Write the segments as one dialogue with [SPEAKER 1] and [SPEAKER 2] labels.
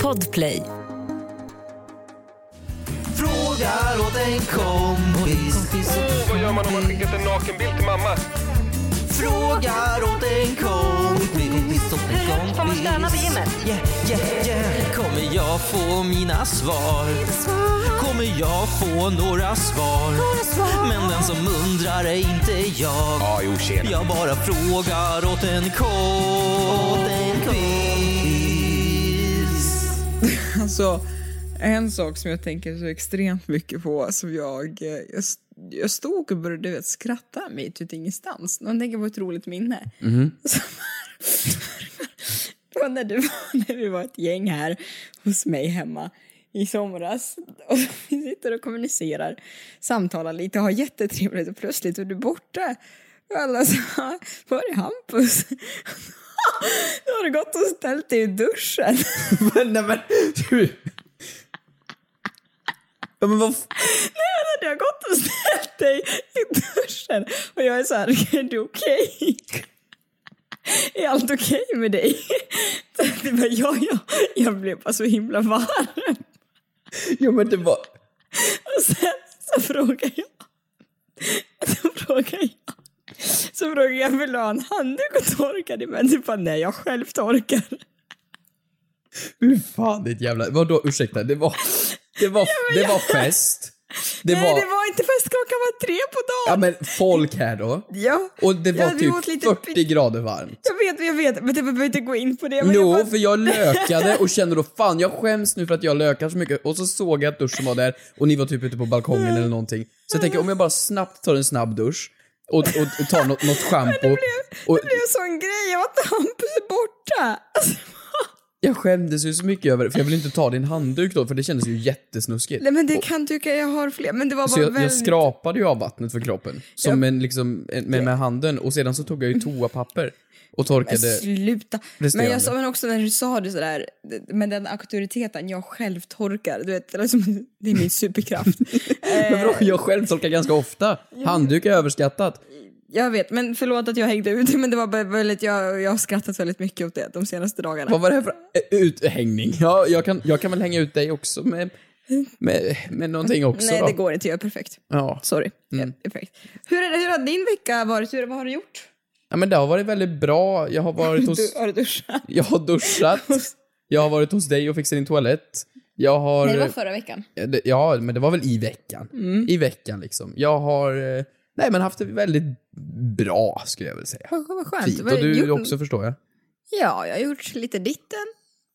[SPEAKER 1] Podplay.
[SPEAKER 2] Frågar åt en kompis.
[SPEAKER 3] Åh, vad gör man om man skickat en nakenbild till mamma?
[SPEAKER 2] Frågar åt en kompis. åt en
[SPEAKER 4] Hur högt får man stöna på gymmet?
[SPEAKER 2] Yeah, yeah, yeah. Kommer jag få mina svar? Kommer jag få några svar? Men den som undrar är inte jag.
[SPEAKER 3] Ja, jo tjena.
[SPEAKER 2] Jag bara frågar åt en kompis.
[SPEAKER 5] Alltså, en sak som jag tänker så extremt mycket på som jag... eh, Jag, jag stod och började du vet, skratta mitt ute i ingenstans. Man tänker på ett roligt minne.
[SPEAKER 2] Mhm.
[SPEAKER 5] Så- på när, du, när vi var ett gäng här hos mig hemma i somras och vi sitter och kommunicerar, samtalar lite, har jättetrevligt och plötsligt är du borta. Och alla så "Ah, var är Hampus? Då har du gått och ställt dig i duschen.
[SPEAKER 2] Men, nej men, du. Ja, men vad... f-
[SPEAKER 5] hade jag gått och ställt dig i duschen och jag är så här, är du okej? Är allt okej med dig? Så det var, ja, ja. Jag blev bara så himla varm.
[SPEAKER 2] Ja, men det var...
[SPEAKER 5] Och sen så frågar jag. Så frågar jag. Så frågar jag, vill du ha en handduk och torka dig med? Du bara, nej jag själv torkar.
[SPEAKER 2] Hur fan ditt jävla... Vadå, ursäkta? Det var... Det var, det var fest. Det
[SPEAKER 5] nej
[SPEAKER 2] var...
[SPEAKER 5] det var inte fest, klockan var tre på
[SPEAKER 2] Ja
[SPEAKER 5] dagen.
[SPEAKER 2] men folk här då.
[SPEAKER 5] Ja,
[SPEAKER 2] Och det var
[SPEAKER 5] Ja, vi åt
[SPEAKER 2] typ
[SPEAKER 5] lite
[SPEAKER 2] 40
[SPEAKER 5] py-
[SPEAKER 2] grader varmt.
[SPEAKER 5] jag vet, jag vet, men det behöver inte gå in på det. men jag
[SPEAKER 2] Jo,
[SPEAKER 5] bara-
[SPEAKER 2] för jag lökade och kände då fan jag skäms nu för att jag lökar så mycket och så såg jag att duschen var där och ni var typ ute på balkongen eller någonting. Så jag tänker om jag bara snabbt tar en snabb dusch och, och, och tar något, något schampo. Och
[SPEAKER 5] Det blev en sån grej av att Hampus är borta. Alltså,
[SPEAKER 2] jag skämdes ju så mycket över det för jag ville inte ta din handduk då för det kändes ju jättesnuskigt.
[SPEAKER 5] nej men det kan tycka jag har fler. Men det var
[SPEAKER 2] Så
[SPEAKER 5] bara
[SPEAKER 2] Alltså, jag, jag
[SPEAKER 5] väldigt...
[SPEAKER 2] skrapade ju av vattnet för kroppen. Som en, liksom, en, med, med handen och sedan så tog jag ju toapapper och
[SPEAKER 5] Men
[SPEAKER 2] torkade.
[SPEAKER 5] sluta. Men,
[SPEAKER 2] resterande.
[SPEAKER 5] jag sa, men också när du sa det sådär, med den auktoriteten, jag själv torkar. Du vet, det är, som, det är min superkraft.
[SPEAKER 2] Men vadå, jag själv torkar ganska ofta. Handduk är överskattat.
[SPEAKER 5] jag vet, men förlåt att jag hängde ut men det var bara väldigt, jag, jag har skrattat väldigt mycket åt det de senaste dagarna.
[SPEAKER 2] Vad var det här för ä, uthängning? Ja, jag, kan, jag kan väl hänga ut dig också med, med, med någonting också
[SPEAKER 5] nej,
[SPEAKER 2] då.
[SPEAKER 5] det går inte. Jag är perfekt.
[SPEAKER 2] Ja. Mm.
[SPEAKER 5] Sorry. Jag är perfekt. Hur, är det, hur har din vecka varit? Hur, vad har du gjort?
[SPEAKER 2] ja, men det har varit väldigt bra. Jag har varit hos...
[SPEAKER 5] Du, har du duschat?
[SPEAKER 2] Jag har duschat. Jag har varit hos dig och fixat din toalett. Jag har...
[SPEAKER 5] Nej, det var förra veckan.
[SPEAKER 2] Eh, Det- Ja, men det var väl i veckan.
[SPEAKER 5] Mm.
[SPEAKER 2] I veckan liksom. Jag har... eh, Nej, men haft det väldigt bra skulle jag vilja säga.
[SPEAKER 5] Vad vad skönt.
[SPEAKER 2] Fint.
[SPEAKER 5] Vad
[SPEAKER 2] Och
[SPEAKER 5] har
[SPEAKER 2] du
[SPEAKER 5] gjort?
[SPEAKER 2] också förstår jag.
[SPEAKER 5] Ja, jag har gjort lite ditten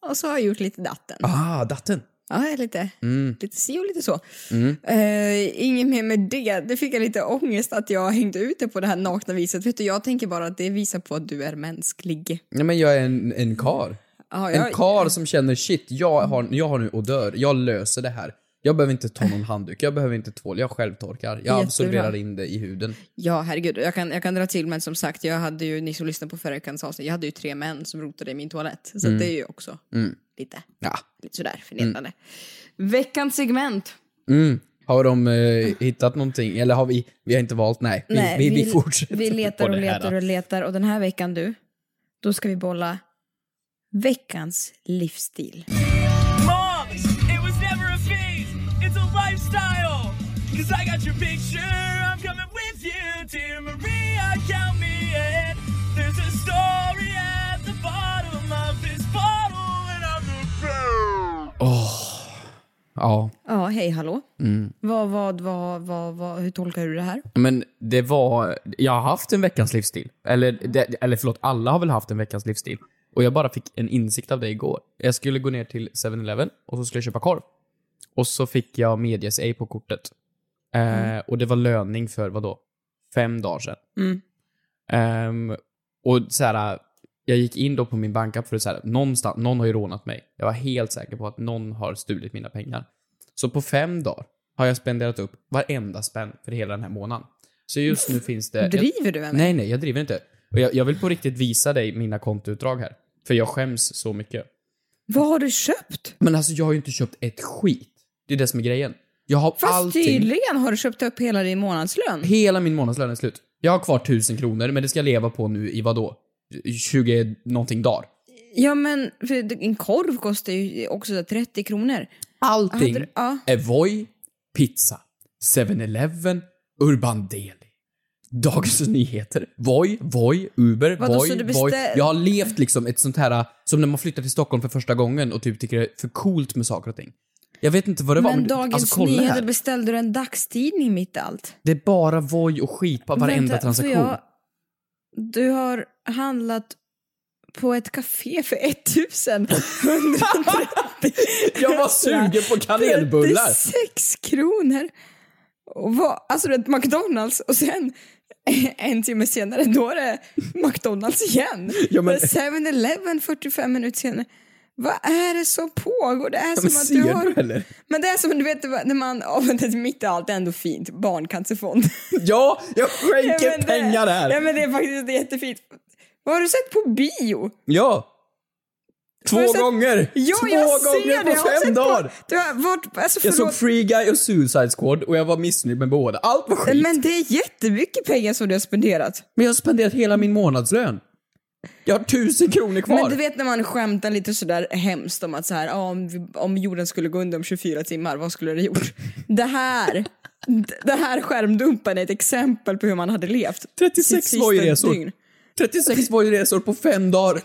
[SPEAKER 5] och så har jag gjort lite datten.
[SPEAKER 2] Ah, datten.
[SPEAKER 5] Ja, jag är lite,
[SPEAKER 2] Mm.
[SPEAKER 5] lite si och lite så.
[SPEAKER 2] Mm.
[SPEAKER 5] Eh, inget mer med det. Det fick jag lite ångest att jag hängde ut det på det här nakna viset. Vet du, jag tänker bara att det visar på att du är mänsklig.
[SPEAKER 2] Nej, men jag är en, en kar.
[SPEAKER 5] Ja, jag,
[SPEAKER 2] En kar som känner shit, jag har, jag har nu odör, jag löser det här. Jag behöver inte ta någon handduk, jag behöver inte tvål, jag självtorkar. Jag
[SPEAKER 5] Jättebra.
[SPEAKER 2] absorberar in det i huden.
[SPEAKER 5] ja, herregud. Jag kan, jag kan dra till men som sagt, jag hade ju, ni som lyssnade på förra veckans avsnitt, jag hade ju tre män som rotade i min toalett.
[SPEAKER 2] Mm.
[SPEAKER 5] Så det är ju också lite,
[SPEAKER 2] Ja.
[SPEAKER 5] lite sådär förnedrande. Veckans segment.
[SPEAKER 2] Mm. Har de eh, hittat någonting? Eller har vi, vi har inte valt, nej. Vi,
[SPEAKER 5] Nej,
[SPEAKER 2] vi, vi, fortsätter
[SPEAKER 5] Vi letar
[SPEAKER 2] på
[SPEAKER 5] och
[SPEAKER 2] det här.
[SPEAKER 5] letar och letar och den här veckan du, då ska vi bolla veckans livsstil.
[SPEAKER 6] Mom, it was never a phase. It's a lifestyle. Cause I got your picture. I'm coming with you. Dear Maria, count me in. There's a story at the bottom of this bottle, and I'm the girl.
[SPEAKER 2] Ja.
[SPEAKER 5] Ja, hej hallå.
[SPEAKER 2] Mm.
[SPEAKER 5] Vad, vad, vad, vad, vad, hur tolkar du det här?
[SPEAKER 2] Men det var, jag har haft en veckans livsstil. Eller, det, eller förlåt, alla har väl haft en veckans livsstil. Och jag bara fick en insikt av det igår. Jag skulle gå ner till 7-Eleven och så skulle jag köpa korv. Och så fick jag medges ej på kortet. Eh, och det var löning för, vad då? Fem dagar sedan.
[SPEAKER 5] Mm.
[SPEAKER 2] Ehm, och så här, jag gick in då på min bankapp för att så här, någonstans, någon har ju rånat mig. Jag var helt säker på att någon har stulit mina pengar. Så på fem dagar har jag spenderat upp varenda spänn för hela den här månaden. Så just nu finns det... jag,
[SPEAKER 5] Driver du med mig?
[SPEAKER 2] Nej, nej, jag driver inte. Och jag, jag vill på riktigt visa dig mina kontoutdrag här. För jag skäms så mycket.
[SPEAKER 5] Vad har du köpt?
[SPEAKER 2] Men alltså, jag har ju inte köpt ett skit. Det är det som är grejen. Jag har
[SPEAKER 5] Fast
[SPEAKER 2] allting...
[SPEAKER 5] tydligen har du köpt upp hela din månadslön.
[SPEAKER 2] Hela min månadslön är slut. Jag har kvar 1000 kronor, men det ska jag leva på nu i vad då? 20 någonting dagar.
[SPEAKER 5] Ja men för det- en korv kostar ju också så här 30 kronor.
[SPEAKER 2] Allting
[SPEAKER 5] Hade du- ja.
[SPEAKER 2] Evoy, pizza, 7-Eleven, Urban Deli. Dagens Nyheter, Voi, Voi, Uber,
[SPEAKER 5] Vadå,
[SPEAKER 2] Voi,
[SPEAKER 5] så du
[SPEAKER 2] Voi.
[SPEAKER 5] beställ-
[SPEAKER 2] Jag har levt liksom ett sånt här, som när man flyttar till Stockholm för första gången och typ tycker det är för coolt med saker och ting. Jag vet inte vad det var,
[SPEAKER 5] men
[SPEAKER 2] du-
[SPEAKER 5] Dagens
[SPEAKER 2] alltså, kolla
[SPEAKER 5] Nyheter
[SPEAKER 2] här.
[SPEAKER 5] beställde du en dagstidning mitt i allt.
[SPEAKER 2] Det är bara Voi och skit på varenda
[SPEAKER 5] Vänta, får
[SPEAKER 2] transaktion.
[SPEAKER 5] jag- Du har handlat på ett café för 1130.
[SPEAKER 2] Jag var sugen på kanelbullar.
[SPEAKER 5] 36 kronor! Och vad, alltså det är ett McDonalds och sen en timme senare då är det McDonalds igen.
[SPEAKER 2] Ja, men-
[SPEAKER 5] Det är 7-Eleven 45 minuter senare. Vad är det som pågår? Det är
[SPEAKER 2] men
[SPEAKER 5] som att
[SPEAKER 2] ser
[SPEAKER 5] du
[SPEAKER 2] du,
[SPEAKER 5] har...
[SPEAKER 2] eller?
[SPEAKER 5] Men det är som du vet när man avvänder mitt i allt är ändå fint. Barncancerfond.
[SPEAKER 2] Ja, jag
[SPEAKER 5] Ja,
[SPEAKER 2] skänker
[SPEAKER 5] men det-
[SPEAKER 2] pengar här!
[SPEAKER 5] Ja men det är faktiskt det är jättefint. Vad har du sett på bio?
[SPEAKER 2] Ja! Två
[SPEAKER 5] Har du sett-
[SPEAKER 2] gånger!
[SPEAKER 5] Ja,
[SPEAKER 2] Två
[SPEAKER 5] jag ser
[SPEAKER 2] gånger
[SPEAKER 5] det! Jag
[SPEAKER 2] på
[SPEAKER 5] har
[SPEAKER 2] fem
[SPEAKER 5] sett
[SPEAKER 2] dagar!
[SPEAKER 5] Du har varit, alltså
[SPEAKER 2] Jag såg
[SPEAKER 5] förlåt.
[SPEAKER 2] Free Guy och Suicide Squad och jag var missnöjd med båda. Allt var skit. Men,
[SPEAKER 5] Men det är jättemycket pengar som du har spenderat.
[SPEAKER 2] jag har spenderat hela min månadslön. Jag har tusen kronor kvar.
[SPEAKER 5] Men du vet när man skämtar lite sådär hemskt om att så här, ja, om, vi, om jorden skulle gå under om 24 timmar, vad skulle det gjort? Det här, d- det här skärmdumpen är ett exempel på hur man hade levt.
[SPEAKER 2] 36
[SPEAKER 5] sitt sista
[SPEAKER 2] Voi-resor.
[SPEAKER 5] dygn.
[SPEAKER 2] 36 var ju resor på fem dagar.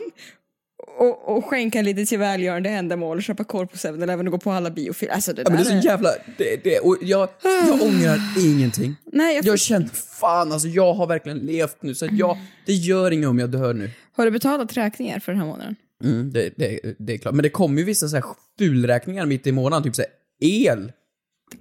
[SPEAKER 5] Och, och skänka lite till välgörande ändamål, köpa korv på 7-Eleven och gå på alla biofilmer. Alltså det
[SPEAKER 2] Ja, men det
[SPEAKER 5] där
[SPEAKER 2] är så jävla... Det, det, och jag, jag ångrar ingenting.
[SPEAKER 5] Nej, jag-
[SPEAKER 2] jag känner fan alltså, jag har verkligen levt nu så att jag, det gör inget om jag dör nu.
[SPEAKER 5] Har du betalat räkningar för den här månaden?
[SPEAKER 2] Mm, det, det, det är klart. Men det kommer ju vissa så här fulräkningar mitt i månaden, typ så här el.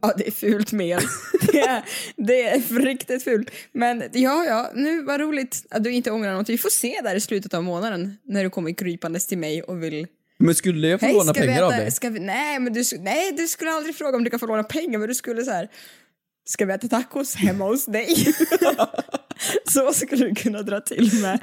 [SPEAKER 5] Ja, det är fult med el. Det är, det är riktigt fult. Men ja, ja, nu vad roligt att du inte ångrar något. Vi får se där i slutet av månaden när du kommer krypandes till mig och vill...
[SPEAKER 2] Men skulle jag få låna
[SPEAKER 5] ska vi
[SPEAKER 2] pengar av
[SPEAKER 5] äta-
[SPEAKER 2] dig?
[SPEAKER 5] Ska vi, nej, men du, sk- nej, du skulle aldrig fråga om du kan få låna pengar, men du skulle så här... Ska vi äta tacos hemma hos dig? så skulle du kunna dra till med.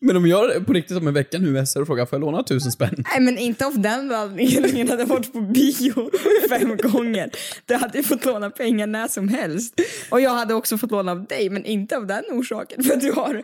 [SPEAKER 2] Men om jag på riktigt om en vecka nu messar och frågar får jag låna tusen spänn?
[SPEAKER 5] Nej, men inte av den anledningen att jag varit på bio fem gånger. Du hade ju fått låna pengar när som helst. Och jag hade också fått låna av dig, men inte av den orsaken. För att du har...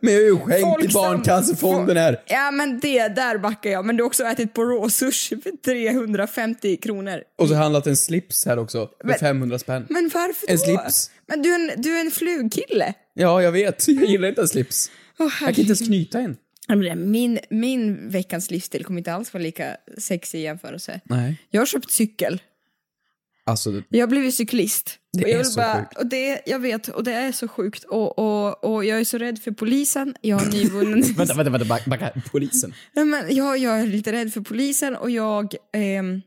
[SPEAKER 2] Men jag är ju skänkt till
[SPEAKER 5] Folksam-
[SPEAKER 2] Barncancerfonden här.
[SPEAKER 5] Ja, men det, där backar jag. Men du har också ätit på råsushi för 350 kronor.
[SPEAKER 2] Och så har jag handlat en slips här också, för
[SPEAKER 5] Men-
[SPEAKER 2] 500 spänn.
[SPEAKER 5] Men varför då?
[SPEAKER 2] En slips.
[SPEAKER 5] Men du är en, du är en flugkille.
[SPEAKER 2] Ja, jag vet. Jag gillar inte en slips.
[SPEAKER 5] Åh,
[SPEAKER 2] Jag kan inte ens knyta en.
[SPEAKER 5] Ja, men det- Min, min veckans livsstil kommer inte alls vara lika sexig i jämförelse.
[SPEAKER 2] Nej.
[SPEAKER 5] Jag har köpt cykel.
[SPEAKER 2] Alltså, det-
[SPEAKER 5] Jag har blivit cyklist.
[SPEAKER 2] Det
[SPEAKER 5] och jag
[SPEAKER 2] är
[SPEAKER 5] vill
[SPEAKER 2] så sjukt.
[SPEAKER 5] Och det, jag vet, och det är så sjukt. Och, och, och jag är så rädd för polisen. Jag har nyvunnen...
[SPEAKER 2] vänta, vänta, vänta, backa, backa. Polisen.
[SPEAKER 5] Nej, men jag, jag är lite rädd för polisen och jag... ehm,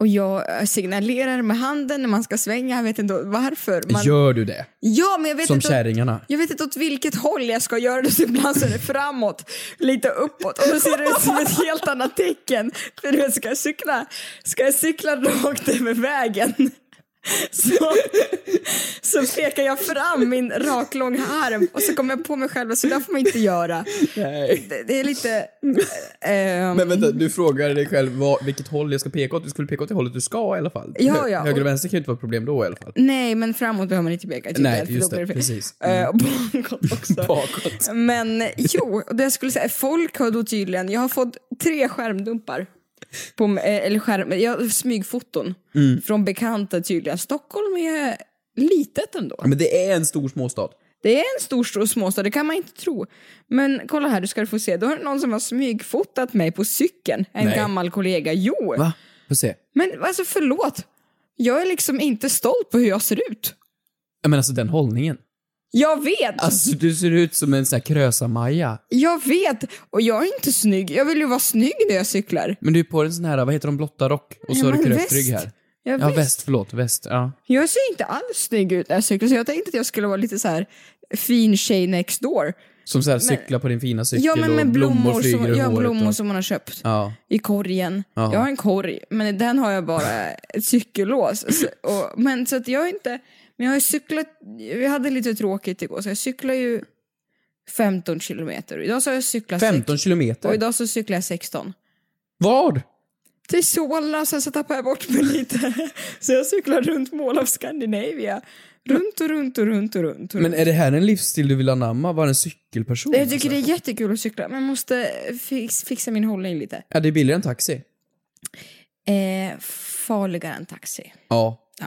[SPEAKER 5] och jag signalerar med handen när man ska svänga. Jag vet inte varför. Man,
[SPEAKER 2] Gör du det?
[SPEAKER 5] ja, men jag vet
[SPEAKER 2] Som
[SPEAKER 5] inte...
[SPEAKER 2] kärringarna?
[SPEAKER 5] Jag vet inte åt vilket håll jag ska göra det, så ibland så är det framåt, lite uppåt och då ser det ut som ett helt annat tecken. För du vet, ska jag cykla, ska jag cykla rakt över vägen så, så pekar jag fram min raklånga arm och så kommer jag på mig själv att så där får man inte göra.
[SPEAKER 2] Nej.
[SPEAKER 5] Det, det är lite... ehm,
[SPEAKER 2] Men vänta, du frågar dig själv vad, vilket håll jag ska peka åt. Du skulle peka åt det hållet du ska i alla fall.
[SPEAKER 5] Ja,
[SPEAKER 2] Hö-
[SPEAKER 5] ja,
[SPEAKER 2] Höger
[SPEAKER 5] och-
[SPEAKER 2] och vänster kan ju inte vara ett problem då i alla fall.
[SPEAKER 5] nej, men framåt behöver man inte peka. tycker
[SPEAKER 2] Nej,
[SPEAKER 5] jag, för
[SPEAKER 2] just
[SPEAKER 5] då blir
[SPEAKER 2] det.
[SPEAKER 5] fel.
[SPEAKER 2] Precis. Mm.
[SPEAKER 5] Eh, Och bakåt också.
[SPEAKER 2] Bakåt.
[SPEAKER 5] Men jo, och det jag skulle säga, folk har då tydligen, jag har fått tre skärmdumpar. På, eh, eller skärm, jag, smygfoton
[SPEAKER 2] Mm.
[SPEAKER 5] från bekanta tydligen. Stockholm är litet ändå.
[SPEAKER 2] Men det är en stor småstad.
[SPEAKER 5] Det är en stor, stor småstad, det kan man inte tro. Men kolla här, du ska få se. Då har någon som har smygfotat mig på cykeln. En
[SPEAKER 2] Nej.
[SPEAKER 5] gammal kollega. Jo!
[SPEAKER 2] Va? Får se.
[SPEAKER 5] Men alltså förlåt. Jag är liksom inte stolt på hur jag ser ut.
[SPEAKER 2] Ja, Men alltså den hållningen.
[SPEAKER 5] Jag vet!
[SPEAKER 2] Alltså du ser ut som en sån här krösa-Maja.
[SPEAKER 5] Jag vet! Och jag är inte snygg. Jag vill ju vara snygg när jag cyklar.
[SPEAKER 2] Men du är på en sån här, vad heter de, blotta rock? Och så
[SPEAKER 5] Ja,
[SPEAKER 2] har du
[SPEAKER 5] men
[SPEAKER 2] krökt
[SPEAKER 5] väst.
[SPEAKER 2] rygg här.
[SPEAKER 5] Jag,
[SPEAKER 2] Ja,
[SPEAKER 5] visst.
[SPEAKER 2] väst, förlåt, väst. Ja.
[SPEAKER 5] jag ser inte alls snygg ut när jag cyklar så jag tänkte att jag skulle vara lite så här fin tjej next door.
[SPEAKER 2] Som såhär cykla på din fina cykel
[SPEAKER 5] Ja men
[SPEAKER 2] och
[SPEAKER 5] med
[SPEAKER 2] blommor,
[SPEAKER 5] blommor,
[SPEAKER 2] flyger
[SPEAKER 5] som,
[SPEAKER 2] ur
[SPEAKER 5] ja,
[SPEAKER 2] håret.
[SPEAKER 5] blommor
[SPEAKER 2] och...
[SPEAKER 5] som man har köpt
[SPEAKER 2] Ja.
[SPEAKER 5] i korgen.
[SPEAKER 2] Ja.
[SPEAKER 5] Jag har en korg men i den har jag bara ett cykellås. Så, och, men så att jag är inte, men jag har ju cyklat, vi hade lite tråkigt igår så jag cyklar ju 15 kilometer. Idag så har jag cyklat sex-
[SPEAKER 2] 15
[SPEAKER 5] och
[SPEAKER 2] kilometer?
[SPEAKER 5] idag så cyklar jag 16.
[SPEAKER 2] Vad?
[SPEAKER 5] till Solna, sen så tappade jag bort mig lite. Så jag cyklade runt Mall of Scandinavia. Runt och runt och runt och runt. Och
[SPEAKER 2] Men
[SPEAKER 5] runt.
[SPEAKER 2] är det här en livsstil du vill anamma? Vara en cykelperson? alltså?
[SPEAKER 5] Jag tycker det är jättekul att cykla, men jag måste fix, fixa min hållning lite.
[SPEAKER 2] Ja, det är billigare än taxi.
[SPEAKER 5] Eh, farligare än taxi.
[SPEAKER 2] Ja.
[SPEAKER 5] Ja.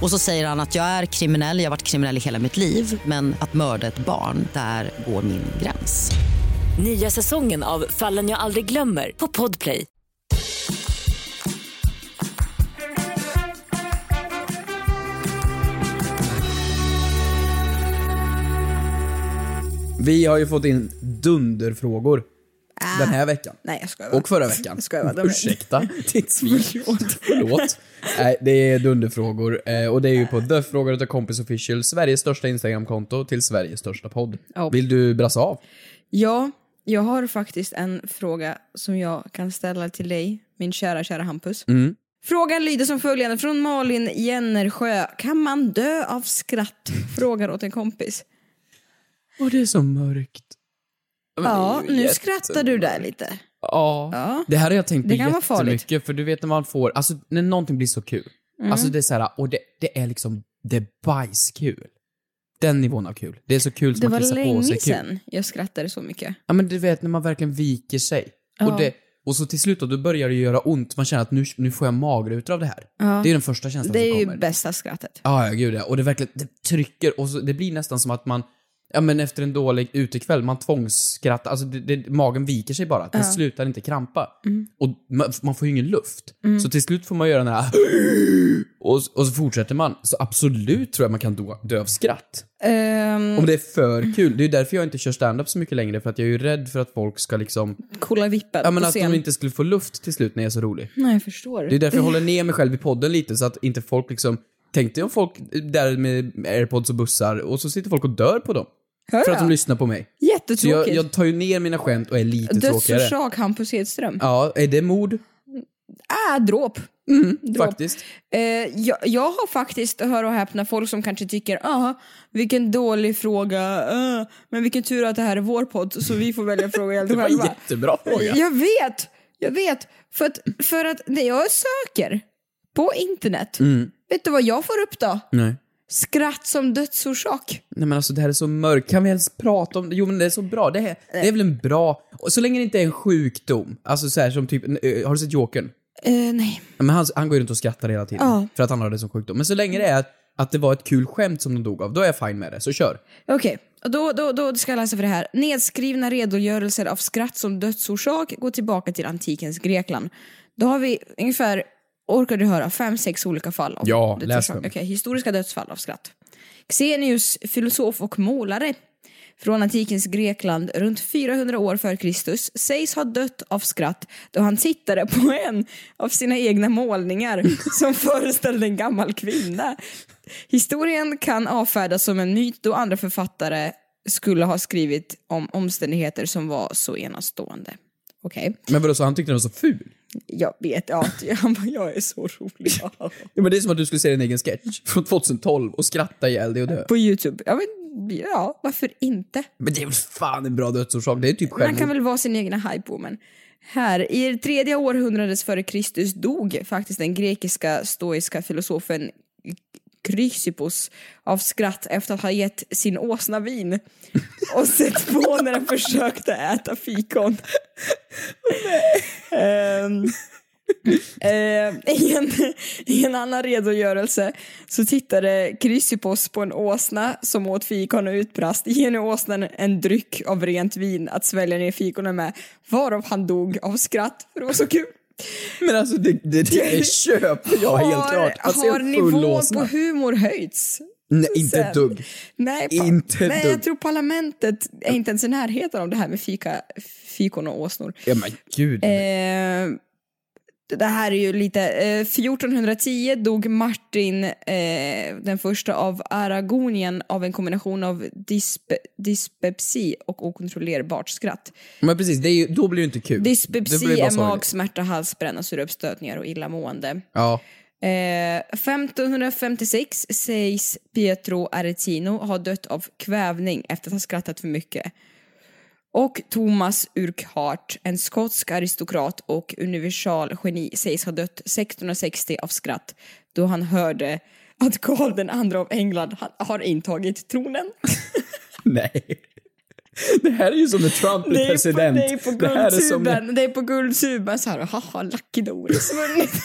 [SPEAKER 7] Och så säger han att jag är kriminell, jag har varit kriminell i hela mitt liv men att mörda ett barn, där går min gräns.
[SPEAKER 1] Nya säsongen av Fallen jag aldrig glömmer på Podplay.
[SPEAKER 2] Vi har ju fått in dunderfrågor den här veckan.
[SPEAKER 5] Ah. Nej, jag skojar bara.
[SPEAKER 2] Och förra veckan.
[SPEAKER 5] Jag skojar bara. De-
[SPEAKER 2] Ursäkta ditt svin. Förlåt. Nej, det är dunderfrågor. Eh, Och det är ju på The Frågar utav Kompis Official, Sveriges största Instagramkonto till Sveriges största podd.
[SPEAKER 5] Ja.
[SPEAKER 2] Vill du brassa av?
[SPEAKER 5] Ja, jag har faktiskt en fråga som jag kan ställa till dig, min kära, kära Hampus.
[SPEAKER 2] Mm.
[SPEAKER 5] Frågan lyder som följande från Malin Jennersjö. Kan man dö av skratt?
[SPEAKER 2] Mm.
[SPEAKER 5] Frågar åt en kompis.
[SPEAKER 2] Och det är så mörkt.
[SPEAKER 5] Ja, nu skrattar du där lite.
[SPEAKER 2] Ja.
[SPEAKER 5] Ja.
[SPEAKER 2] Det här har jag tänkt på
[SPEAKER 5] Det kan vara farligt. Mm.
[SPEAKER 2] jättemycket, för du vet när man får, alltså när någonting blir så kul. Alltså det är så här, och det, det är liksom, det är bajskul. Den nivån av kul. Det är så kul
[SPEAKER 5] Det
[SPEAKER 2] som man
[SPEAKER 5] var
[SPEAKER 2] kissar på sig
[SPEAKER 5] länge
[SPEAKER 2] kul.
[SPEAKER 5] sedan jag skrattade så mycket.
[SPEAKER 2] Ja men du vet när man verkligen viker sig. Och, det, och så till slut då, då börjar det göra ont. Man känner att nu, nu får jag magrutor av det här. Det är den första känslan
[SPEAKER 5] Det är
[SPEAKER 2] som
[SPEAKER 5] ju
[SPEAKER 2] kommer.
[SPEAKER 5] bästa skrattet.
[SPEAKER 2] Ja, ja, gud ja. Och det verkligen, det trycker och så, det blir nästan som att man, ja men efter en dålig utekväll, man tvångsskrattar, alltså det, det, magen viker sig bara. Den slutar inte krampa.
[SPEAKER 5] Mm.
[SPEAKER 2] Och man, man får ju ingen luft. Så till slut får man göra den här och, s- och så fortsätter man. Så absolut tror jag man kan dö, dö av skratt.
[SPEAKER 5] Ehm,
[SPEAKER 2] Om det är för kul. Det är ju därför jag inte kör stand-up så mycket längre, för att jag är ju rädd för att folk ska liksom,
[SPEAKER 5] Coola vippen
[SPEAKER 2] ja men
[SPEAKER 5] på
[SPEAKER 2] att
[SPEAKER 5] scen.
[SPEAKER 2] de inte skulle få luft till slut när jag är så rolig.
[SPEAKER 5] Nej, jag förstår.
[SPEAKER 2] Det är därför jag håller ner mig själv i podden lite, så att inte folk liksom... Tänk dig om folk där med airpods och bussar, och så sitter folk och dör på dem.
[SPEAKER 5] Hör
[SPEAKER 2] För att de
[SPEAKER 5] jag?
[SPEAKER 2] lyssnar på mig. Så jag,
[SPEAKER 5] Jättetråkigt.
[SPEAKER 2] jag tar ju ner mina skämt och är lite tråkigare.
[SPEAKER 5] Dödsorsak Hampus Hedström.
[SPEAKER 2] Ja, är det mod?
[SPEAKER 5] Ah, dråp. Dråp.
[SPEAKER 2] Mm, Faktiskt.
[SPEAKER 5] Eh, jag, jag har faktiskt, hör och häpna, folk som kanske tycker ah, vilken dålig fråga, ah, men vilken tur att det här är vår podd så vi får välja fråga helt
[SPEAKER 2] Det var en
[SPEAKER 5] själva.
[SPEAKER 2] jättebra fråga.
[SPEAKER 5] Jag vet, jag vet. För att, för att när jag söker på internet,
[SPEAKER 2] Mm.
[SPEAKER 5] vet du vad jag får upp då?
[SPEAKER 2] Nej.
[SPEAKER 5] Skratt som dödsorsak.
[SPEAKER 2] Nej men alltså det här är så mörkt, kan vi ens prata om det? Jo men det är så bra, det, här, det är väl en bra... Och så länge det inte är en sjukdom, alltså så här som typ, eh, har du sett Jokern?
[SPEAKER 5] Eh, nej.
[SPEAKER 2] Men han, han går ju runt och skrattar hela tiden,
[SPEAKER 5] Ja.
[SPEAKER 2] för att han har det som sjukdom. Men så länge det är att, att det var ett kul skämt som de dog av, då är jag fine med det, så kör.
[SPEAKER 5] Okej, och då, då, då ska jag läsa för det här. Nedskrivna redogörelser av skratt som dödsorsak går tillbaka till antikens Grekland. Då har vi ungefär, orkar du höra, fem, sex olika fall av
[SPEAKER 2] Ja, läs
[SPEAKER 5] dödsorsak.
[SPEAKER 2] dem.
[SPEAKER 5] Okej, historiska dödsfall av skratt. Xenius, filosof och målare från antikens Grekland runt 400 år före Kristus sägs ha dött av skratt då han tittade på en av sina egna målningar som föreställde en gammal kvinna. Historien kan avfärdas som en myt då andra författare skulle ha skrivit om omständigheter som var så enastående. Okej,
[SPEAKER 2] Men vadå, så han tyckte den var så ful?
[SPEAKER 5] jag vet. Ja, han bara, jag är så rolig.
[SPEAKER 2] Ja, men det är som att du skulle se din egen sketch från 2012 och skratta ihjäl dig och dö.
[SPEAKER 5] På Youtube. Ja, men, ja, varför inte?
[SPEAKER 2] Men det är väl fan en bra dödsorsak, det är typ
[SPEAKER 5] Man kan
[SPEAKER 2] självmord.
[SPEAKER 5] väl vara sin egna hype woman. Här, i det tredje århundrades före Kristus dog faktiskt den grekiska stoiska filosofen Chrysippos av skratt efter att ha gett sin åsna vin och sett på när den försökte äta fikon. Ehm, ehm, i, en, I en annan redogörelse så tittade Chrysippos på en åsna som åt fikon och utbrast ge nu åsnan en dryck av rent vin att svälja ner fikonen med varav han dog av skratt för det var så kul.
[SPEAKER 2] Men alltså det, det, det är köp, ja helt
[SPEAKER 5] har
[SPEAKER 2] klart. Alltså,
[SPEAKER 5] har
[SPEAKER 2] jag är full
[SPEAKER 5] nivån
[SPEAKER 2] åsna.
[SPEAKER 5] på humor höjts?
[SPEAKER 2] Nej, inte
[SPEAKER 5] sen?
[SPEAKER 2] ett dugg.
[SPEAKER 5] Nej, pa-
[SPEAKER 2] Inte ett
[SPEAKER 5] nej
[SPEAKER 2] dugg.
[SPEAKER 5] jag tror parlamentet är inte ens i närheten av det här med fika, fikon och åsnor.
[SPEAKER 2] Ja men gud.
[SPEAKER 5] Eh, Det här är ju lite... Eh, 1410 dog Martin eh, den första av Aragonien av en kombination av dispe, dyspepsi och okontrollerbart skratt.
[SPEAKER 2] Men precis, det är ju, då blir det ju inte kul. Det blir
[SPEAKER 5] Dyspepsi
[SPEAKER 2] bara
[SPEAKER 5] är
[SPEAKER 2] sorgligt.
[SPEAKER 5] magsmärta, halsbränna, surröpsstötningar och illamående.
[SPEAKER 2] Ja.
[SPEAKER 5] Eh, 1556 sägs Pietro Aretino ha dött av kvävning efter att ha skrattat för mycket. Och Thomas Urquhart, en skotsk aristokrat och universalgeni, sägs ha dött 1660 av skratt då han hörde att Karl den andra av England ha- har intagit tronen.
[SPEAKER 2] Nej. Det här är ju som när Trump
[SPEAKER 5] Det
[SPEAKER 2] blir
[SPEAKER 5] är på,
[SPEAKER 2] president.
[SPEAKER 5] det är på
[SPEAKER 2] här är som när-
[SPEAKER 5] guldtuben, det är på guldtuben så här, haha, Lucky Doris vunnit.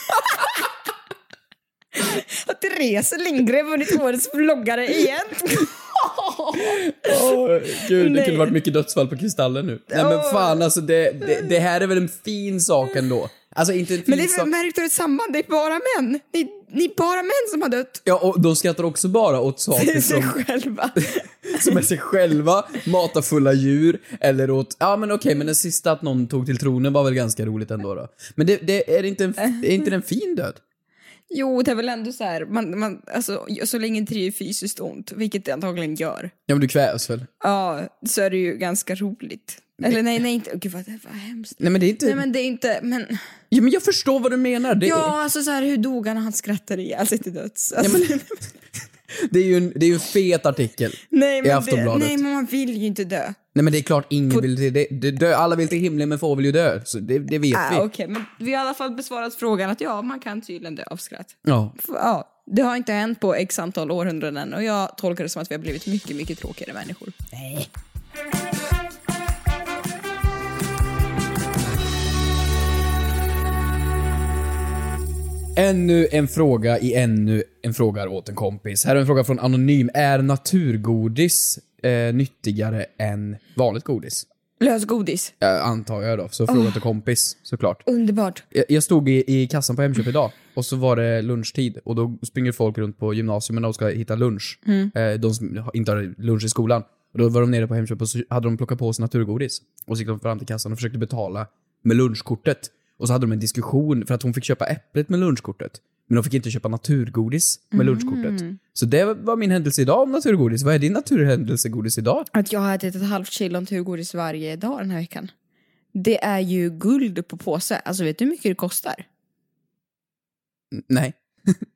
[SPEAKER 5] Att Therese Lindgren vunnit årets vloggare igen.
[SPEAKER 2] Åh, gud, det
[SPEAKER 5] Nej.
[SPEAKER 2] kunde varit mycket dödsfall på Kristallen nu. Nej men fan alltså, det, det, det här är väl en fin sak ändå. Alltså inte en fin
[SPEAKER 5] Men det
[SPEAKER 2] sak.
[SPEAKER 5] är märkt ett samband, det är bara män. Ni, ni är bara män som har dött.
[SPEAKER 2] Ja, och de skrattar också bara åt
[SPEAKER 5] Det
[SPEAKER 2] saker
[SPEAKER 5] är sig
[SPEAKER 2] som,
[SPEAKER 5] själva.
[SPEAKER 2] som är sig själva, matar fulla djur, eller åt... Ja men okej, men den sista att någon tog till tronen var väl ganska roligt ändå då. Men det, det, är, det inte en, är inte det en fin död?
[SPEAKER 5] Jo, det är väl ändå så här, man, man, alltså, så länge inte det gör fysiskt ont, vilket det antagligen gör,
[SPEAKER 2] Ja men du kvävs väl?
[SPEAKER 5] ja, så är det ju ganska roligt. Eller nej, nej, inte, gud vad, vad hemskt.
[SPEAKER 2] Nej men det är inte...
[SPEAKER 5] Nej men det är inte, men...
[SPEAKER 2] Ja men jag förstår vad du menar. Det, är,
[SPEAKER 5] Ja, alltså så här, hur dog han när han skrattade ihjäl sig till döds? Alltså,
[SPEAKER 2] men- det är ju en, det är ju en fet artikel.
[SPEAKER 5] Alltså, nej, men det,
[SPEAKER 2] Aftonbladet.
[SPEAKER 5] nej, men man vill ju inte dö.
[SPEAKER 2] Nej men det är klart ingen vill till det, det, dö. Alla vill till himlen men få vill ju dö. Så det, det vet vi.
[SPEAKER 5] Ah, Okej, men vi har i alla fall besvarat frågan att ja, man kan tydligen dö av skratt.
[SPEAKER 2] Ja.
[SPEAKER 5] F- Ja, det har inte hänt på x antal århundraden och jag tolkar det som att vi har blivit mycket, mycket tråkigare människor.
[SPEAKER 2] Ännu en fråga i ännu en fråga åt en kompis. Här är en fråga från Anonym. Är naturgodis eh, nyttigare än vanligt godis?
[SPEAKER 5] Lösgodis.
[SPEAKER 2] Eh, antar jag då, så fråga till kompis såklart.
[SPEAKER 5] Underbart.
[SPEAKER 2] Jag, jag stod i, i kassan på Hemköp idag och så var det lunchtid och då springer folk runt på gymnasierna och ska hitta lunch.
[SPEAKER 5] Mm.
[SPEAKER 2] Eh, de som har- inte har lunch i skolan. Och då var de nere på Hemköp och så hade de plockat på sig naturgodis. Och så gick de fram till kassan och försökte betala med lunchkortet. Och så hade de en diskussion för att hon fick köpa äpplet med lunchkortet. Men de fick inte köpa naturgodis med
[SPEAKER 5] Mm.
[SPEAKER 2] lunchkortet. Så det var min händelse idag om naturgodis. Vad är din naturhändelsegodis idag?
[SPEAKER 5] Att jag har ätit ett halvt kilo naturgodis varje dag den här veckan. Det är ju guld på påse. Alltså vet du hur mycket det kostar?
[SPEAKER 2] N- Nej.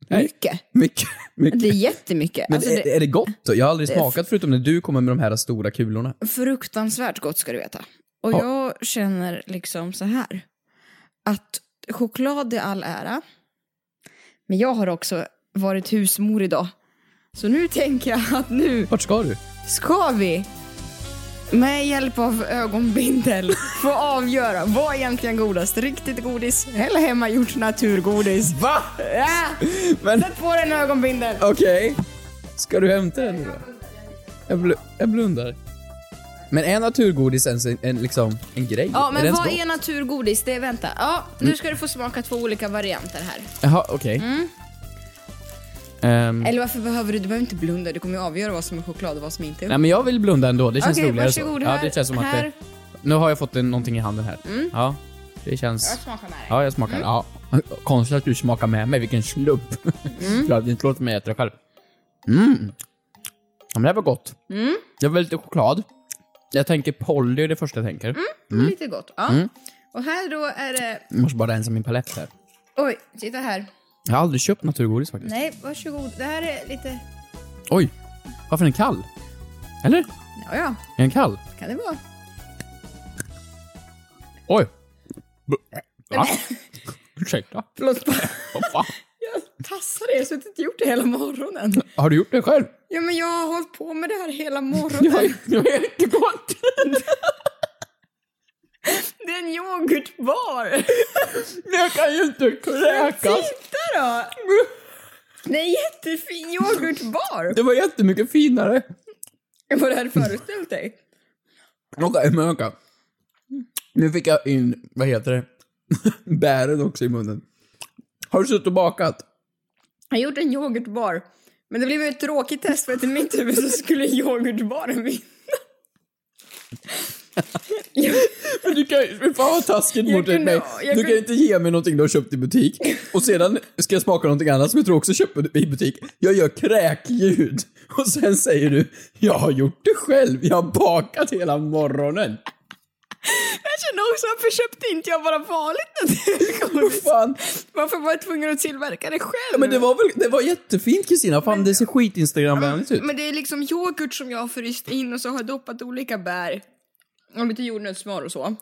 [SPEAKER 5] Mycket.
[SPEAKER 2] Mycket. mycket.
[SPEAKER 5] Det är jättemycket.
[SPEAKER 2] Men
[SPEAKER 5] alltså,
[SPEAKER 2] är,
[SPEAKER 5] det
[SPEAKER 2] är det gott då? Jag har aldrig
[SPEAKER 5] det är f-
[SPEAKER 2] smakat förutom när du kommer med de här stora kulorna.
[SPEAKER 5] fruktansvärt gott ska du veta. Och
[SPEAKER 2] Ja.
[SPEAKER 5] jag känner liksom så här. Att choklad i all ära. Men jag har också varit husmor idag. Så nu tänker jag att nu
[SPEAKER 2] Vart ska du?
[SPEAKER 5] ska vi med hjälp av ögonbindel få avgöra vad är egentligen godast. Riktigt godis eller hemmagjort naturgodis.
[SPEAKER 2] Va?
[SPEAKER 5] Ja,
[SPEAKER 2] Men
[SPEAKER 5] sätt på dig en ögonbindel.
[SPEAKER 2] okej. Ska du hämta den nu då? Jag, bl- jag blundar. Men är naturgodis ens en, en, liksom, en grej?
[SPEAKER 5] Ja,
[SPEAKER 2] är
[SPEAKER 5] men
[SPEAKER 2] det ens
[SPEAKER 5] vad
[SPEAKER 2] gott? Mm.
[SPEAKER 5] är naturgodis? Det vänta. Ja, nu ska du få smaka två olika varianter här.
[SPEAKER 2] Jaha, okej.
[SPEAKER 5] Mm.
[SPEAKER 2] Ehm,
[SPEAKER 5] Eller varför behöver du? Du behöver inte blunda. Du kommer ju avgöra vad som är choklad och vad som inte är.
[SPEAKER 2] nej men jag vill blunda ändå, det känns
[SPEAKER 5] Okej,
[SPEAKER 2] roligare
[SPEAKER 5] varsågod.
[SPEAKER 2] så.
[SPEAKER 5] Här,
[SPEAKER 2] ja, det känns som att
[SPEAKER 5] här. Mm.
[SPEAKER 2] det, Nu har jag fått en, någonting i handen här. Ja, det känns...
[SPEAKER 5] smakar med dig.
[SPEAKER 2] Ja, jag smakar. Ja. Konstigt att du smakar med mig, vilken slump. För att inte låtit mig äta det själv. Mm. Ja, men det här var gott. Det var lite choklad. Jag tänker Polly är det första jag tänker.
[SPEAKER 5] Lite gott. Ja. Och här då är det...
[SPEAKER 2] Jag måste bara rensa min palett här.
[SPEAKER 5] Oj, titta här.
[SPEAKER 2] Jag har aldrig köpt naturgodis faktiskt.
[SPEAKER 5] Nej, varsågod. Det här är lite...
[SPEAKER 2] Oj! Varför är den kall? Eller? Är
[SPEAKER 5] Ja, ja.
[SPEAKER 2] den kall?
[SPEAKER 5] Kan det vara.
[SPEAKER 2] Oj! B- Va? Ursäkta?
[SPEAKER 5] Förlåt. bara-
[SPEAKER 2] Vad fan?
[SPEAKER 5] Jag tassar er så jag har inte gjort det hela morgonen.
[SPEAKER 2] Har du gjort det själv?
[SPEAKER 5] Ja, men jag har hållit på med det här hela
[SPEAKER 2] Det var,
[SPEAKER 5] morgonen.
[SPEAKER 2] det var jättegott!
[SPEAKER 5] Det är en yoghurtbar.
[SPEAKER 2] Jag kan ju inte kräkas!
[SPEAKER 5] Titta då! Det är en jättefin yoghurtbar.
[SPEAKER 2] Det var jättemycket finare.
[SPEAKER 5] Vad du hade föreställt dig.
[SPEAKER 2] Okej, men vänta. Nu fick jag in, vad heter det, bären också i munnen. Har du suttit och bakat?
[SPEAKER 5] Jag har gjort en yoghurtbar. Men det blev ju ett tråkigt test för att i mitt huvud så skulle yoghurtbaren vinna.
[SPEAKER 2] Men du kan ju, fan vad taskigt
[SPEAKER 5] Jag
[SPEAKER 2] mot dig.
[SPEAKER 5] kunde-
[SPEAKER 2] Nej,
[SPEAKER 5] jag
[SPEAKER 2] Du kan
[SPEAKER 5] kunde-
[SPEAKER 2] inte ge mig någonting du har köpt i butik. Och sedan ska jag smaka någonting annat som jag tror också köper i butik. Jag gör kräkljud. Och sen säger du, jag har gjort det själv. Jag har bakat hela morgonen.
[SPEAKER 5] Jag känner också, varför köpte inte jag bara vanligt
[SPEAKER 2] Vad
[SPEAKER 5] naturgodis?
[SPEAKER 2] fan.
[SPEAKER 5] Varför var jag tvungen att tillverka det själv?
[SPEAKER 2] Men det var väl, det var jättefint Kristina. Fan det ser skit Instagramvänligt ut.
[SPEAKER 5] Men det är liksom yoghurt som jag har fryst in och så har jag doppat olika bär. Och lite jordnötssmör och så.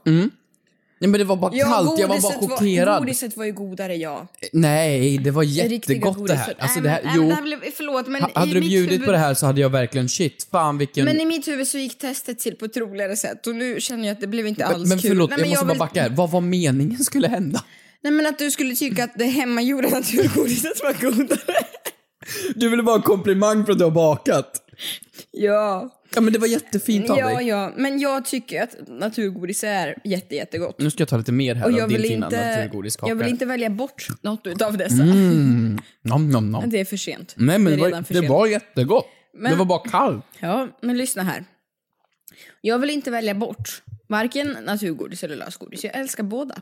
[SPEAKER 2] Nej men det var bara kallt, Mm. jag var bara
[SPEAKER 5] godiset Var,
[SPEAKER 2] chockerad.
[SPEAKER 5] godiset var ju godare ja.
[SPEAKER 2] Nej, det var
[SPEAKER 5] Det riktiga
[SPEAKER 2] jättegott det här.
[SPEAKER 5] godiset.
[SPEAKER 2] Alltså
[SPEAKER 5] Nej,
[SPEAKER 2] det här,
[SPEAKER 5] men- nej, men
[SPEAKER 2] jo.
[SPEAKER 5] det här blev, förlåt men
[SPEAKER 2] Ha- Hade
[SPEAKER 5] i
[SPEAKER 2] du
[SPEAKER 5] mitt
[SPEAKER 2] bjudit
[SPEAKER 5] huvud,
[SPEAKER 2] på det här så hade jag verkligen shit, fan vilken...
[SPEAKER 5] Men i mitt huvud så gick testet till på ett roligare sätt och nu känner jag att det blev inte alls
[SPEAKER 2] men
[SPEAKER 5] kul.
[SPEAKER 2] förlåt,
[SPEAKER 5] Nej,
[SPEAKER 2] jag måste bara
[SPEAKER 5] vill-
[SPEAKER 2] backa här. Vad var meningen skulle hända?
[SPEAKER 5] Nej men att du skulle tycka att det hemmagjorda naturgodiset var godare.
[SPEAKER 2] Du ville bara ha en komplimang för att du har bakat.
[SPEAKER 5] ja.
[SPEAKER 2] Ja men det var jättefint av
[SPEAKER 5] Ja,
[SPEAKER 2] dig.
[SPEAKER 5] ja, men jag tycker att naturgodis är jätte, jättegott.
[SPEAKER 2] Nu ska jag ta lite mer här
[SPEAKER 5] Och
[SPEAKER 2] av
[SPEAKER 5] jag
[SPEAKER 2] Mm. din
[SPEAKER 5] vill,
[SPEAKER 2] fina
[SPEAKER 5] inte,
[SPEAKER 2] naturgodiskaka.
[SPEAKER 5] jag vill inte välja bort något utav dessa.
[SPEAKER 2] Nom, nom, nom.
[SPEAKER 5] Det är för sent.
[SPEAKER 2] Nej men
[SPEAKER 5] det
[SPEAKER 2] det
[SPEAKER 5] är
[SPEAKER 2] var,
[SPEAKER 5] redan för
[SPEAKER 2] det
[SPEAKER 5] sent.
[SPEAKER 2] var jättegott.
[SPEAKER 5] Men-
[SPEAKER 2] Det var bara kallt.
[SPEAKER 5] Ja, men lyssna här. Jag vill inte välja bort varken naturgodis eller lösgodis. Jag älskar båda.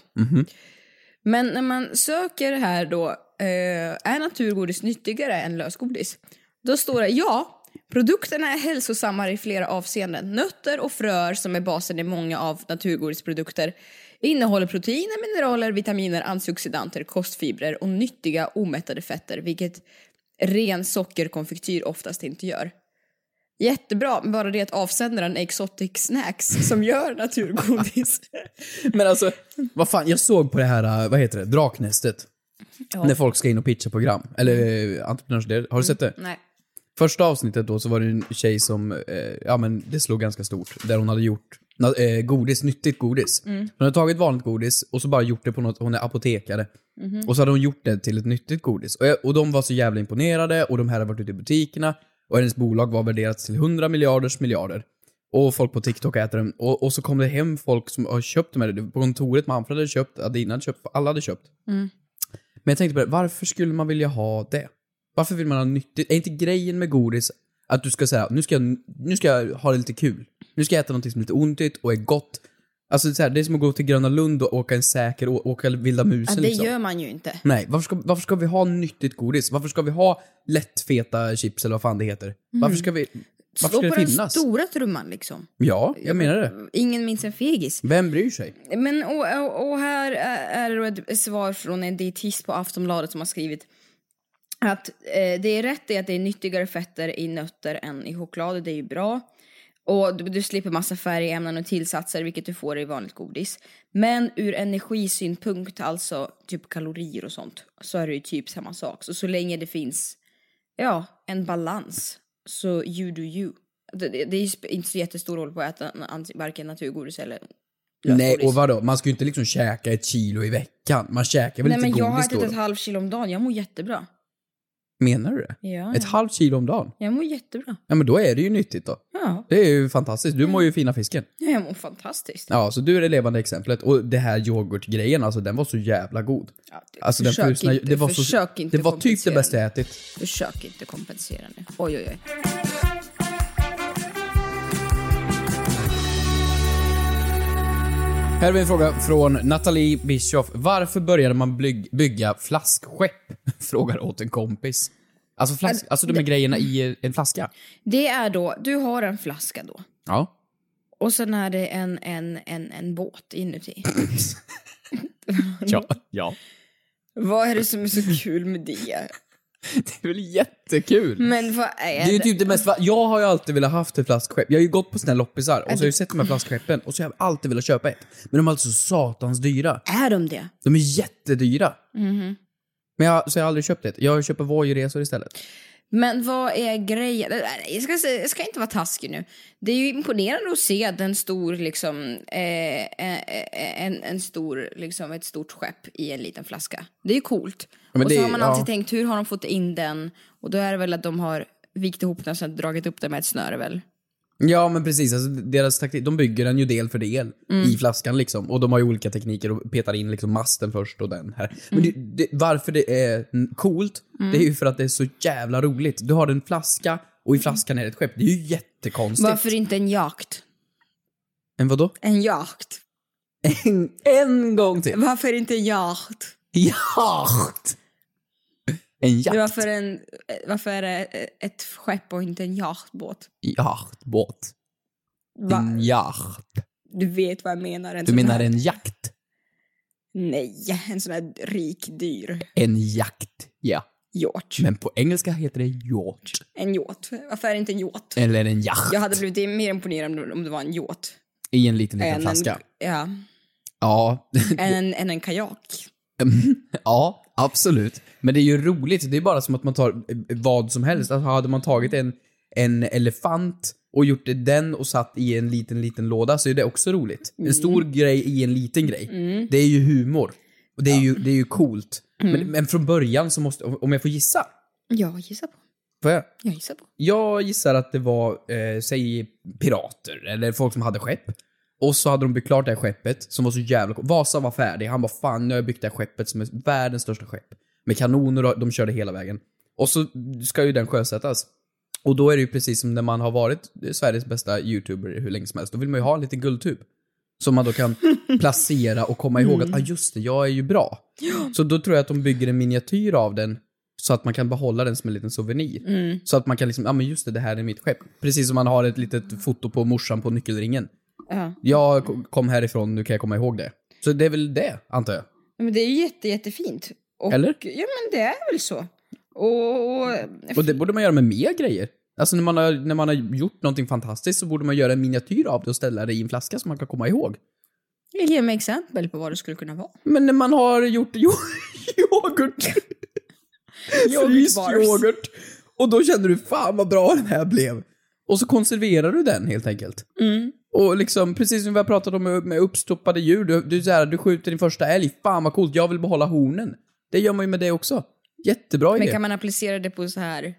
[SPEAKER 5] Men när man söker här då, eh, är naturgodis nyttigare än lösgodis? Då står det ja, produkterna är hälsosammare i flera avseenden. Nötter och fröer som är basen i många av naturgodisprodukter innehåller proteiner, mineraler, vitaminer, antioxidanter, kostfibrer och nyttiga omättade fetter, vilket ren sockerkonfektyr oftast inte gör. Jättebra, bara det att avsändaren är Exotic Snacks som gör naturgodis.
[SPEAKER 2] Men alltså, vad fan, jag såg på det här, vad heter det, Draknästet. När folk ska in och pitcha program. Eller eh, entreprenörsdel. Har du sett det?
[SPEAKER 5] Nej.
[SPEAKER 2] Första avsnittet då så var det en tjej som, eh, ja men det slog ganska stort. Där hon hade gjort na- eh, godis, nyttigt godis. Hon hade tagit vanligt godis och så bara gjort det på något, hon är apotekare.
[SPEAKER 5] Mm-hmm.
[SPEAKER 2] Och så hade hon gjort det till ett nyttigt godis. Och, jag, och de var så jävla imponerade och de här hade varit ute i butikerna. Och hennes bolag var värderat till 100 miljarders miljarder. Och folk på TikTok äter dem. Och, och så kom det hem folk som har köpt de här, på kontoret Manfred hade köpt, Adina hade köpt, alla hade köpt.
[SPEAKER 5] Mm.
[SPEAKER 2] Men jag tänkte på det, varför skulle man vilja ha det? Varför vill man ha nyttigt? Är inte grejen med godis att du ska säga nu ska jag, nu ska jag ha det lite kul. Nu ska jag äta någonting som är lite onyttigt och är gott. Alltså det är, så här, det är som att gå till Gröna Lund och åka en säker, å- åka vilda
[SPEAKER 5] Ja,
[SPEAKER 2] musen
[SPEAKER 5] det
[SPEAKER 2] liksom.
[SPEAKER 5] gör man ju inte.
[SPEAKER 2] Nej, varför ska, varför ska vi ha nyttigt godis? Varför ska vi ha lättfeta chips eller vad fan det heter? Varför ska vi...
[SPEAKER 5] Slå
[SPEAKER 2] Varför ska
[SPEAKER 5] på
[SPEAKER 2] det
[SPEAKER 5] den
[SPEAKER 2] finnas?
[SPEAKER 5] stora trumman liksom.
[SPEAKER 2] Ja, jag menar det.
[SPEAKER 5] Ingen minns en fegis.
[SPEAKER 2] Vem bryr sig?
[SPEAKER 5] Men och, och, och här är är då ett svar från en dietist på Aftonbladet som har skrivit att eh, det är rätt i att det är nyttigare fetter i nötter än i choklad och det är ju bra. Och du, du slipper massa färgämnen och tillsatser vilket du får i vanligt godis. Men ur energisynpunkt, alltså typ kalorier och sånt, så är det ju typ samma sak. Så så länge det finns, ja, en balans så you do you. Det, det, det är ju sp- inte så jättestor roll på att äta an- varken naturgodis eller
[SPEAKER 2] Nej,
[SPEAKER 5] lösgodis.
[SPEAKER 2] och vadå? Man ska ju inte liksom käka ett kilo i veckan. Man käkar väl
[SPEAKER 5] Nej
[SPEAKER 2] lite
[SPEAKER 5] men jag har
[SPEAKER 2] godis
[SPEAKER 5] ätit
[SPEAKER 2] då?
[SPEAKER 5] ett halvt kilo om dagen, jag mår jättebra.
[SPEAKER 2] Menar du det?
[SPEAKER 5] Ja,
[SPEAKER 2] Ett halvt kilo om dagen?
[SPEAKER 5] jag mår jättebra.
[SPEAKER 2] Ja, men då är det ju nyttigt då.
[SPEAKER 5] Ja,
[SPEAKER 2] Det är ju fantastiskt. Du mår ju fina fisken.
[SPEAKER 5] jag mår fantastiskt.
[SPEAKER 2] Ja, så du är det levande exemplet. Och det här yoghurtgrejen, alltså den var så jävla god.
[SPEAKER 5] Ja, du,
[SPEAKER 2] Alltså den
[SPEAKER 5] försök
[SPEAKER 2] frusna,
[SPEAKER 5] inte,
[SPEAKER 2] det var, så,
[SPEAKER 5] försök inte
[SPEAKER 2] det var typ det
[SPEAKER 5] kompensera
[SPEAKER 2] bästa
[SPEAKER 5] nu.
[SPEAKER 2] jag ätit.
[SPEAKER 5] Försök inte kompensera nu. Oj, oj, oj.
[SPEAKER 2] Här har vi en fråga från Nathalie Bischoff. Varför började man blyg, bygga flaskskepp? Frågar åt en kompis. Alltså, flask, alltså de här grejerna i en flaska.
[SPEAKER 5] Det är då, du har en flaska då.
[SPEAKER 2] Ja.
[SPEAKER 5] Och sen är det en, en, en, en båt inuti.
[SPEAKER 2] Ja. ja.
[SPEAKER 5] vad är det som är så kul med det?
[SPEAKER 2] Det är väl jättekul?
[SPEAKER 5] Men vad är
[SPEAKER 2] Det är ju
[SPEAKER 5] det?
[SPEAKER 2] typ det mest, va- jag har ju alltid velat haft ett flaskskepp. Jag har ju gått på såna här loppisar och så har jag ju sett de här flaskskeppen och så har jag alltid velat köpa ett. Men de är alltså satans dyra.
[SPEAKER 5] Är de det?
[SPEAKER 2] De är jättedyra. Men jag, så jag har aldrig köpt ett. Jag köper Voi-resor istället.
[SPEAKER 5] Men vad är grejen? Nej, Jag ska, säga- jag ska inte vara taskig nu. Det är ju imponerande att se att en stor, liksom, eh, eh, en, en stor, liksom, ett stort skepp i en liten flaska. Det är ju coolt.
[SPEAKER 2] men
[SPEAKER 5] och
[SPEAKER 2] det
[SPEAKER 5] så
[SPEAKER 2] är-
[SPEAKER 5] har man alltid
[SPEAKER 2] ja.
[SPEAKER 5] tänkt, hur har de fått in den? Och då är det väl att de har vikt ihop den och sen dragit upp den med ett snöre väl?
[SPEAKER 2] Ja, men precis. Alltså, deras taktik, de bygger den ju del för del i flaskan liksom. Och de har ju olika tekniker och petar in liksom masten först och den här. Men det, det, varför det är mm, Mm. coolt, det är ju för att det är så jävla roligt. Du har en flaska och i flaskan är det ett skepp. Det är ju jättekonstigt.
[SPEAKER 5] Varför inte en jakt?
[SPEAKER 2] En vadå?
[SPEAKER 5] En jakt.
[SPEAKER 2] En, en gång till.
[SPEAKER 5] Varför inte jakt?
[SPEAKER 2] Jakt! En jakt.
[SPEAKER 5] Varför, en, eh, varför är det ett skepp och inte en jaktbåt?
[SPEAKER 2] Jaktbåt.
[SPEAKER 5] Va?
[SPEAKER 2] En jakt.
[SPEAKER 5] Du vet vad jag menar. En
[SPEAKER 2] Mm. Du
[SPEAKER 5] sån
[SPEAKER 2] menar
[SPEAKER 5] här...
[SPEAKER 2] en jakt?
[SPEAKER 5] Nej, en sån här rik, dyr
[SPEAKER 2] En jakt, ja.
[SPEAKER 5] yacht.
[SPEAKER 2] Men på engelska heter det yacht.
[SPEAKER 5] En yacht. Varför är det inte en yacht?
[SPEAKER 2] Eller en yacht.
[SPEAKER 5] Jag hade blivit mer imponerad om- om det var en yacht.
[SPEAKER 2] I en liten, liten
[SPEAKER 5] Än en,
[SPEAKER 2] flaska.
[SPEAKER 5] ja,
[SPEAKER 2] Ja.
[SPEAKER 5] än en, än en kajak.
[SPEAKER 2] ja, absolut. Men det är ju roligt. Det är bara som att man tar eh, vad som helst. Alltså, hade man tagit en, en elefant och gjort det den och satt i en liten, liten låda så är det också roligt. En stor grej i en liten grej. Det är ju humor. Och det är, ju, det är ju coolt. Men, men från början så måste... Om jag får gissa?
[SPEAKER 5] Jag gissar på.
[SPEAKER 2] Får jag?
[SPEAKER 5] Jag gissar på.
[SPEAKER 2] Jag gissar att det var, eh, säg pirater eller folk som hade skepp. Och så hade de byggt klart det här skeppet som var så jävla coolt. Vasa var färdig. Han bara fan nu har jag byggt det här skeppet som är världens största skepp. Med kanoner och de körde hela vägen. Och så ska ju den sjösättas. Och då är det ju precis som när man har varit Sveriges bästa youtuber hur länge som helst. Då vill man ju ha en liten guldtub. Som man då kan placera och komma ihåg att ah, just det, jag är ju bra. Så då tror jag att de bygger en miniatyr av den så att man kan behålla den som en liten souvenir.
[SPEAKER 5] Mm,
[SPEAKER 2] Så att man kan liksom, ja ah, men just det, det här är mitt skepp. Precis som man har ett litet foto på morsan på nyckelringen.
[SPEAKER 5] Ja.
[SPEAKER 2] Jag ko- kom härifrån, nu kan jag komma ihåg det. Så det är väl det, antar jag.
[SPEAKER 5] Men det är ju jätte, jättefint. Och,
[SPEAKER 2] Eller?
[SPEAKER 5] Ja, men det är väl så. Och, och,
[SPEAKER 2] Och det borde man göra med mer grejer. Alltså när man har, när man har gjort någonting fantastiskt så borde man göra en miniatyr av det och ställa det i en flaska som man kan komma ihåg.
[SPEAKER 5] ge mig exempel på vad det skulle kunna vara.
[SPEAKER 2] Men när man har gjort yo- yoghurt. Fryst
[SPEAKER 5] bars.
[SPEAKER 2] yoghurt. Och då känner du fan vad bra den här blev. Och så konserverar du den helt enkelt.
[SPEAKER 5] Mm.
[SPEAKER 2] Och liksom, precis som vi har pratat om med med uppstoppade djur. Du, du, är så här, du skjuter din första älg. Fan vad coolt, jag vill behålla hornen. Det gör man ju med det också. Jättebra
[SPEAKER 5] Men
[SPEAKER 2] idé.
[SPEAKER 5] kan man applicera det på så här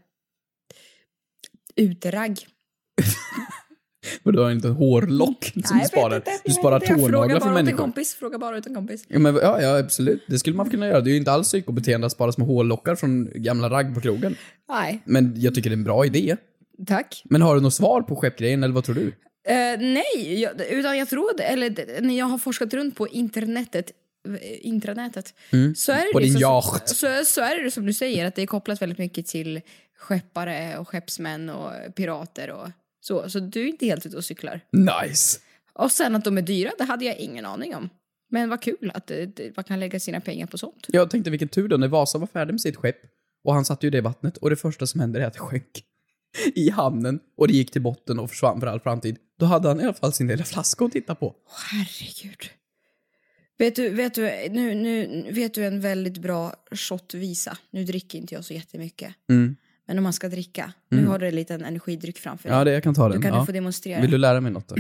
[SPEAKER 5] uteragg?
[SPEAKER 2] Men du har inte en hårlock som du
[SPEAKER 5] jag vet
[SPEAKER 2] sparar.
[SPEAKER 5] inte, jag
[SPEAKER 2] du
[SPEAKER 5] vet
[SPEAKER 2] sparar
[SPEAKER 5] inte. Jag frågar
[SPEAKER 2] tånaglar
[SPEAKER 5] bara
[SPEAKER 2] för
[SPEAKER 5] åt en
[SPEAKER 2] människor.
[SPEAKER 5] Kompis, fråga bara utan kompis.
[SPEAKER 2] Ja, men, ja, ja, absolut. Det skulle man kunna göra. Det är ju inte alls psykobeteende att spara små hårlockar från gamla ragg på krogen.
[SPEAKER 5] Nej,
[SPEAKER 2] Men jag tycker det är en bra idé.
[SPEAKER 5] tack.
[SPEAKER 2] Men har du något svar på skeppgrejen, eller vad tror du?
[SPEAKER 5] Eh, nej, jag, utan jag tror, det- eller det- när jag har forskat runt på internetet, eh, intranätet, så är det
[SPEAKER 2] Mm. på din
[SPEAKER 5] liksom,
[SPEAKER 2] yacht.
[SPEAKER 5] så, så är det som du säger, att det är kopplat väldigt mycket till skeppare och skeppsmän och pirater och så. Så du är inte helt ute och cyklar.
[SPEAKER 2] Nice!
[SPEAKER 5] Och sen att de är dyra, det hade jag ingen aning om. Men vad kul att eh, det- man kan lägga sina pengar på sånt.
[SPEAKER 2] Jag tänkte vilken tur då, när Vasa var färdig med sitt skepp och han satte ju det i vattnet och det första som hände är att det sjönk i hamnen och det gick till botten och försvann för all framtid. Då hade han i alla fall sin lilla flaska att titta på.
[SPEAKER 5] Herregud. Vet du, vet du, nu, nu, vet du en väldigt bra shotvisa? Nu dricker inte jag så jättemycket.
[SPEAKER 2] Mm.
[SPEAKER 5] Men om man ska dricka, nu har du en liten energidryck framför dig.
[SPEAKER 2] Ja, det, jag kan ta den.
[SPEAKER 5] Då kan
[SPEAKER 2] ja.
[SPEAKER 5] du få demonstrera.
[SPEAKER 2] Vill du lära mig något då?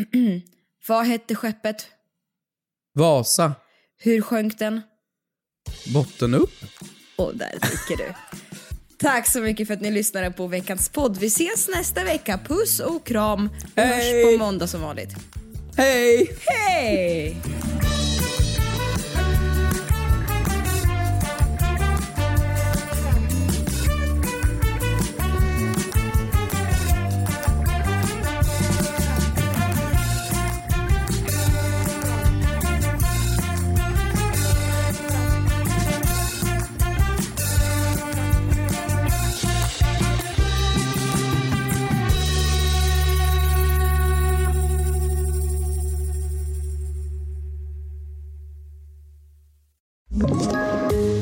[SPEAKER 5] Vad hette skeppet?
[SPEAKER 2] Vasa,
[SPEAKER 5] Hur sjönk den?
[SPEAKER 2] botten upp.
[SPEAKER 5] Och där dricker du. Tack så mycket för att ni lyssnade på veckans podd. Vi ses nästa vecka. Puss och kram. Vi hörs på måndag som vanligt.
[SPEAKER 2] Hej!
[SPEAKER 5] Hej!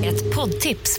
[SPEAKER 1] Ett poddtips